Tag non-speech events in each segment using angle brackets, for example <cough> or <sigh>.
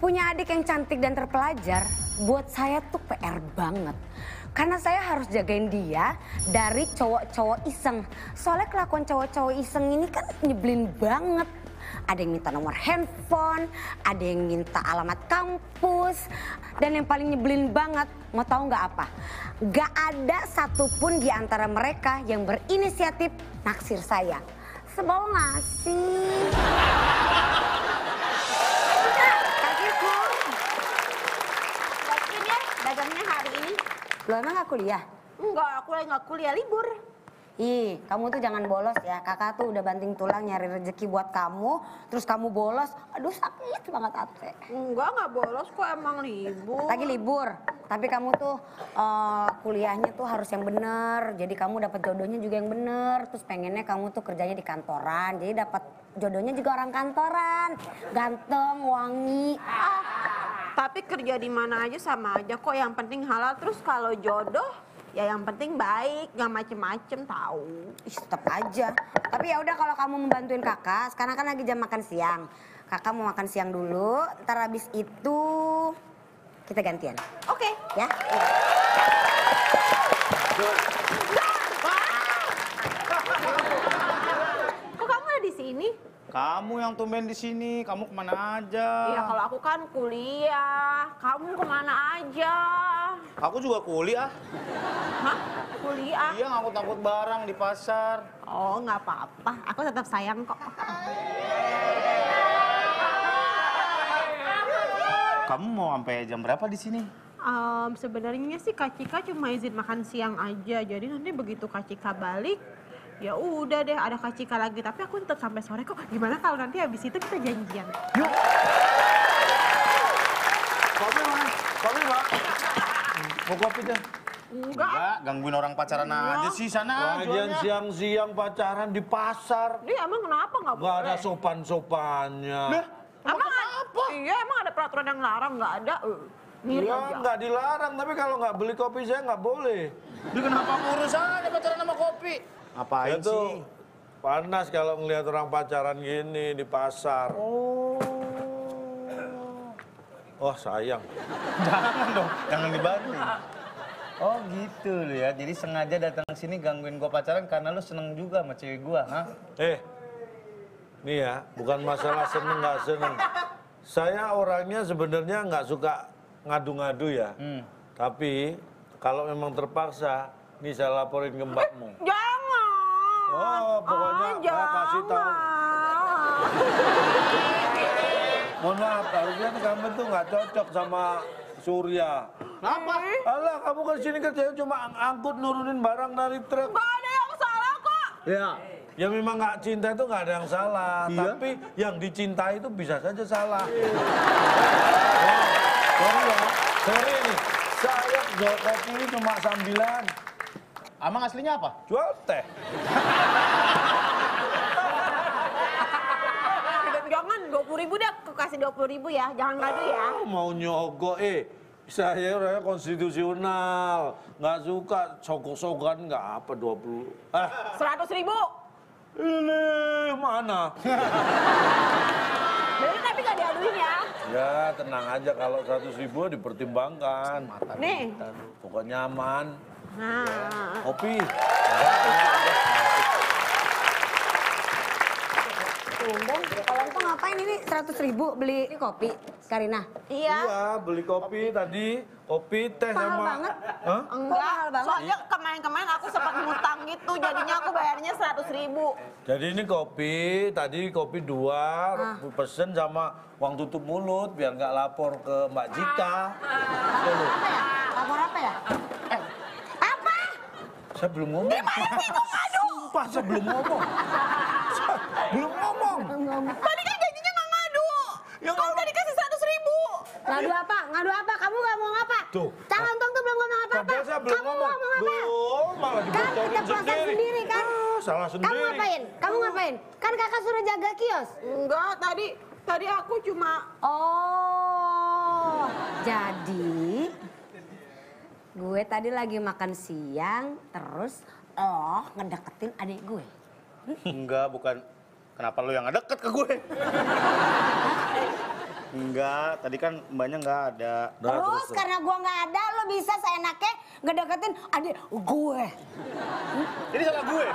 Punya adik yang cantik dan terpelajar buat saya tuh PR banget. Karena saya harus jagain dia dari cowok-cowok iseng. Soalnya kelakuan cowok-cowok iseng ini kan nyebelin banget. Ada yang minta nomor handphone, ada yang minta alamat kampus, dan yang paling nyebelin banget, mau tahu nggak apa? Gak ada satupun di antara mereka yang berinisiatif naksir saya. Sebel nggak sih? Kakiku. Tapi ya dagangnya hari ini. Lo emang gak kuliah? Enggak, aku lagi nggak kuliah libur. Ih, kamu tuh jangan bolos ya. Kakak tuh udah banting tulang nyari rezeki buat kamu, terus kamu bolos. Aduh sakit banget hati. Enggak, nggak bolos kok emang libur. Lagi libur, tapi kamu tuh eh, kuliahnya tuh harus yang bener. Jadi kamu dapat jodohnya juga yang bener. Terus pengennya kamu tuh kerjanya di kantoran. Jadi dapat jodohnya juga orang kantoran. Ganteng, wangi. Tapi kerja di mana aja sama aja kok. Yang penting halal. Terus kalau jodoh, ya yang penting baik, nggak macem-macem tahu. Ih, tetep aja. Tapi ya udah kalau kamu membantuin kakak, sekarang kan lagi jam makan siang. Kakak mau makan siang dulu, ntar habis itu kita gantian. Oke. Ya? Kok kamu ada di sini? Kamu yang tumben di sini, kamu kemana aja? Iya, kalau aku kan kuliah. Kamu kemana aja? Aku juga kuliah. Hah? Kuliah? Iya ngangkut-ngangkut barang di pasar. Oh, nggak apa-apa. Aku tetap sayang kok. Kamu mau sampai jam berapa di sini? Em, sebenarnya sih Kak Cika cuma izin makan siang aja. Jadi nanti begitu Kak Cika balik, ya udah deh ada Kak Cika lagi. Tapi aku tetap sampai sore kok. Gimana kalau nanti habis itu kita janjian? Kopi mana? Kopi pak. Mau kopi deh. Enggak. Enggak, Iya. gangguin orang pacaran aja sih sana. Pengajian Ah, jualnya. siang-siang pacaran di pasar. Ini emang kenapa nggak Gak ada boleh? sopan-sopannya. emang apa? Iya, emang ada peraturan yang larang nggak ada. Eh, Mirip Iya, aja. nggak dilarang, tapi kalau nggak beli kopi saya nggak boleh. Dia kenapa urusan pacaran sama kopi? Apain Itu sih? Ya <laughs> panas kalau ngelihat orang pacaran gini di pasar. Oh. Oh, sayang. Jangan dong, jangan dibanding. Oh gitu lu ya, jadi sengaja datang sini gangguin gua pacaran karena lu seneng juga sama cewek gua, ha? Eh, nih ya, bukan masalah seneng nggak seneng. Saya orangnya sebenarnya nggak suka ngadu-ngadu ya. Hmm. Tapi kalau memang terpaksa, nih saya laporin ke mbakmu. Jangan. Oh, pokoknya Ah, saya kasih tahu. jangan. Mohon maaf, harusnya tuh kamu tuh nggak cocok sama Surya. Kenapa? Alah, kamu ke sini kerjanya cuma ang- angkut nurunin barang dari truk. Nggak ada yang salah kok. Ya. Ya memang nggak cinta itu nggak ada yang salah, tapi yang dicintai itu bisa saja salah. Wah, sorry ya, sorry nih. Saya jual kopi ini cuma sambilan, Amang aslinya apa? jual teh. Nah. Jangan, dua puluh ribu deh. Aku kasih dua puluh ribu ya. Jangan ngadu ya. Oh, mau nyogok, eh. Saya orangnya konstitusional, nggak suka sogok-sogan, nggak apa 20. Ah, Seratus ribu. Ini mana? Jadi tapi gak diaduin ya. Ya tenang aja kalau 100 ribu dipertimbangkan. Nih. Pokoknya aman. Nah. Kopi. ya? Tumben, kalau itu ngapain ini 100 ribu beli kopi, Karina? Iya. Iya beli kopi tadi. Kopi teh Mahal sama. banget. Hah? Kok mahal Enggak, banget? soalnya kemarin-kemarin aku sempat ngutang gitu, jadinya aku bayarnya seratus ribu. Jadi ini kopi tadi kopi dua Ah. pesen sama uang tutup mulut biar nggak lapor ke Mbak Jika. Ah. Apa ya? Lapor apa ya? Eh, apa? Saya belum ngomong. Sumpah saya belum ngomong. Saya belum ngomong. Tadi kan janjinya nggak ngadu. Ya, Kamu udah dikasih seratus ribu. Ngadu apa? Ngadu apa? Kamu gak mau ngapa? Tuh. Ah. Tangan untung tuh belum ngomong apa-apa. Padahal saya belum Kamu ngomong. ngomong apa? Belum, malah Kan kita dibocorin puasa sendiri. sendiri kan? Ah, salah Kamu sendiri. ngapain? Oh, Kamu ngapain? Kan kakak suruh jaga kios. Enggak, tadi tadi aku cuma Oh, jadi gue tadi lagi makan siang, terus lo ngedeketin adik gue. Enggak, bukan. Kenapa lu yang deket ke gue? Enggak, tadi kan mbaknya enggak ada. Nah, terus, terus. karena gua nggak ada, lo bisa seenaknya ngedeketin adik gue. Jadi salah gue.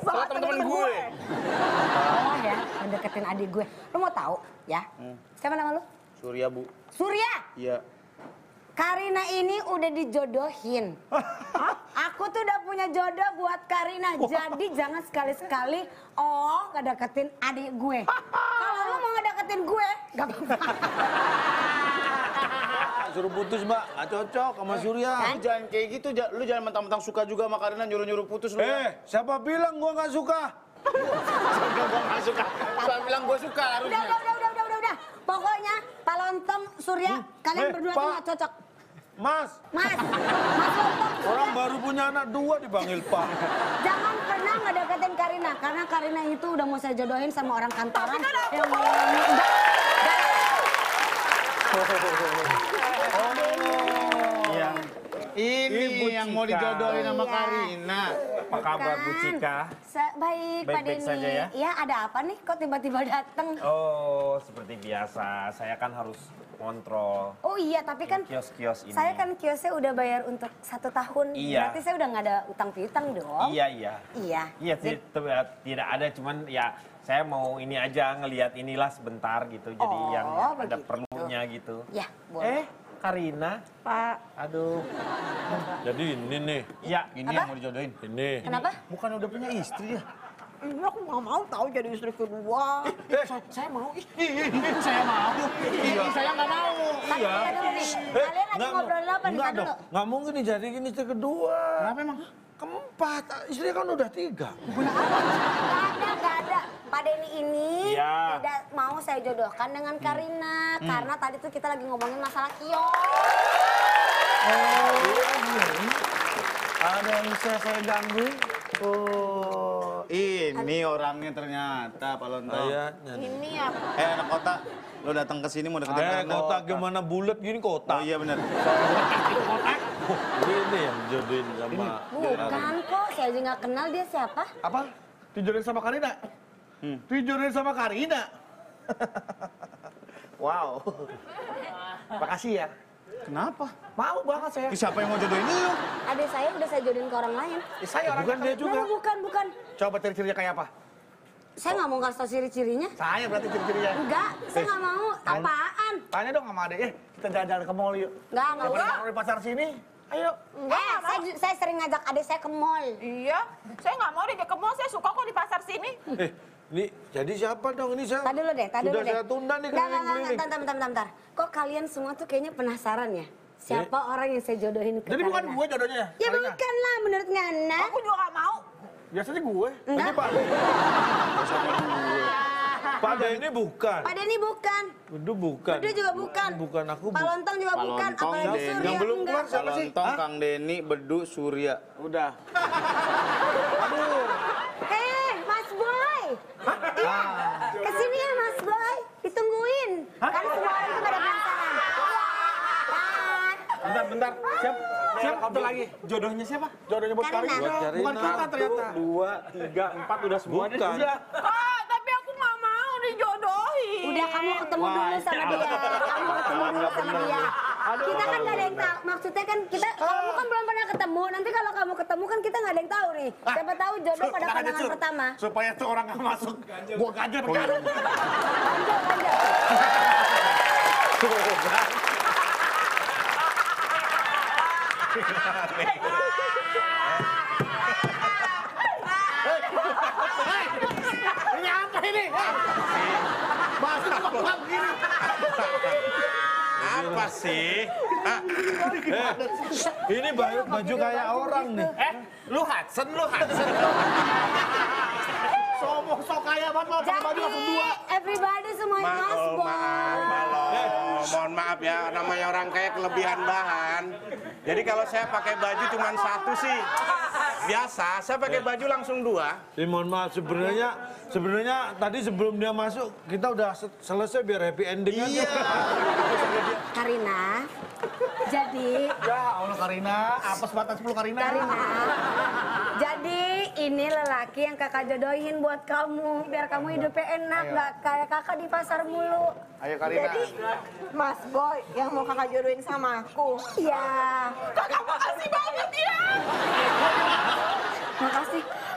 Salah teman-teman gue. Oh ya, ngedeketin adik gue. Lo mau tahu ya? Siapa nama lo? Surya, Bu. Surya. Iya. Karina ini udah dijodohin. Aku tuh udah punya jodoh buat Karina. Jadi jangan sekali-sekali oh ngedeketin adik gue. Kalau lu mau ngedeketin gue, gak apa-apa. Mbak, suruh putus mbak, nggak cocok sama Surya. Lu jangan kayak gitu, Ja. lu jangan mentang-mentang suka juga sama Karina nyuruh-nyuruh putus lu. Eh, siapa bilang gua nggak suka? Enggak, gua nggak suka. Suka bilang gue suka Udah, harusnya. udah, udah, udah, udah, udah, udah. Pokoknya Pak Lontong, Surya, kalian eh, berdua tuh Pak. gak cocok. Mas, Mas, Mas Lontong, orang baru punya anak dua dipanggil Pak. jangan pernah ngedeketin Karina. Karena Karina itu udah mau saya jodohin sama orang kantoran. yang Iya. Ini Ibu yang Cika. mau dijodohin sama Iya. Karina. Apa kabar Bu Bukan. Cika? Sa- baik, Pak Baik-baik Denny. saja ya? Iya, ada apa nih kok tiba-tiba datang? Oh. Oh, seperti biasa, saya kan harus kontrol iya, tapi kan kios-kios ini. ya. saya kan kiosnya udah bayar untuk satu tahun. Iya. Berarti saya udah nggak ada utang piutang dong. Iya, iya. Iya. Iya, sih, tidak, tidak ada cuman ya saya mau ini aja ngelihat inilah sebentar gitu. Jadi Oh, yang ada begitu. perlunya gitu. Ya, boleh. Eh, Karina, Pak, aduh. Jadi ini nih, Ya, Ini Apa? yang mau dijodohin. ini. Kenapa? Bukan udah punya istri dia. ini aku nggak mau tahu jadi istri kedua. Saya, saya mau. Ih, ih, ih, saya mau. Ih, ih, saya nggak mau. Tapi Iya. bentar Eh, dulu nih. Kalian lagi ngobrol apa nih? enggak Bentar dong. dulu. Eh, Nggak mungkin jadi ini istri kedua. Kenapa emang? Keempat, istrinya kan udah tiga. Oh. Nggak ada, nggak ada. Pak Denny ini Iya. tidak mau saya jodohkan dengan Karina. Karena tadi tuh kita lagi ngomongin masalah kios. Iya, ada yang bisa saya ganggu? Oh, ini orangnya ternyata Pak Oh, Lontong. Kayaknya. nih. Ini ya Eh, anak kota, lo datang ke sini mau deketin Eh, Karina. kotak gimana bulat gini Oh kotak. iya benar. Ini yang jodohin sama. Bukan kok, saya aja nggak kenal dia siapa. Apa? Dijodohin sama Karina? Hmm. Dijodohin sama Karina? wow. Makasih ya. Kenapa? Mau banget saya. Ih, Siapa yang mau jodohin lu? Adik saya udah saya jodohin ke orang lain. Eh, saya orang Bukan dia juga. Bukan, bukan, bukan. Coba ciri-cirinya kayak apa? Saya nggak mau kasih tau ciri-cirinya. Saya berarti ciri-cirinya. Enggak, saya nggak mau. Apaan? Tanya dong sama adek, eh kita jalan-jalan ke mall yuk. Enggak, enggak Daripada usah. nongkrong di pasar sini, ayo. Eh, saya, ju- saya sering ngajak adik saya ke mall. Iya, saya nggak mau diajak ke mall, saya suka kok di pasar sini. Eh, ini jadi siapa dong ini saya? Tadi dulu deh, tadi dulu Sudah deh. saya tunda Enggak, nih enggak, enggak, keliling-keliling. bentar, bentar, bentar, bentar. Kok kalian semua tuh kayaknya penasaran ya? Siapa Eh? orang yang saya jodohin ke Jadi bukan Karina? gue jodohnya ya? Ya Karina? bukan lah, menurut Nana. Aku juga nggak mau. Biasanya gue. Enggak, Pada ini bukan. Pak Denny bukan. Itu bukan. Bedu juga bukan. Bukan aku. Pak bu- Lontong juga bukan. Lontong, Apalagi Den. Surya Yang belum keluar enggak. siapa Pak sih? Lontong, Hah? Kang Deni, Bedu, Surya. Udah. Eh, Mas Boy. Iya, Ah. kesini ya Mas Boy. Ditungguin. Karena semua orang tuh pada penasaran. kan? Bentar, bentar. Siap. Siap, satu lagi. Jodohnya siapa? Jodohnya buat Karina. Karina. Buat Bukan Karina. kita ternyata. Satu, dua, tiga, empat, udah semua. Iya. deh. Bukan. Udah. Pak, tapi aku nggak mau dijodohin. Udah kamu ketemu dulu sama dia. Kamu ketemu dulu sama dia. Kita kan gak ada yang tahu. Maksudnya kan kita kamu kan belum pernah ketemu. Nanti kalau kamu ketemu kan kita gak ada yang tahu nih. Siapa tahu jodoh pada Makanya, pandangan Ah, Sur, pertama. Supaya tuh orang gak masuk, gue ganjel perkara. Lanjut, lanjut. Ini apa ini? Hah? Bahasa apa bang gini? Apa sih? Ini baju, baju kayak orang nih. Eh, lu Hudson, lu Hudson. Sombong sok kaya banget lo pakai Jadi, baju langsung dua. everybody semuanya Mas Oh, maaf, Boy. Malom. Mohon maaf ya, namanya orang kaya kelebihan bahan. Jadi kalau saya pakai baju cuma satu sih. Biasa, saya pakai baju langsung dua. Ini mohon maaf sebenarnya sebenarnya tadi sebelum dia masuk kita udah se- selesai biar happy ending aja. Karina. Jadi, Ya Allah Karina, apes batas 10 Karina. Karina. Jadi Ini lelaki yang kakak jodohin buat kamu. Biar kamu hidupnya enak. Gak kayak kakak di pasar mulu. Ayo Karina. Mas Boy yang mau kakak jodohin sama aku. Iya. Kakak makasih banget ya. Makasih.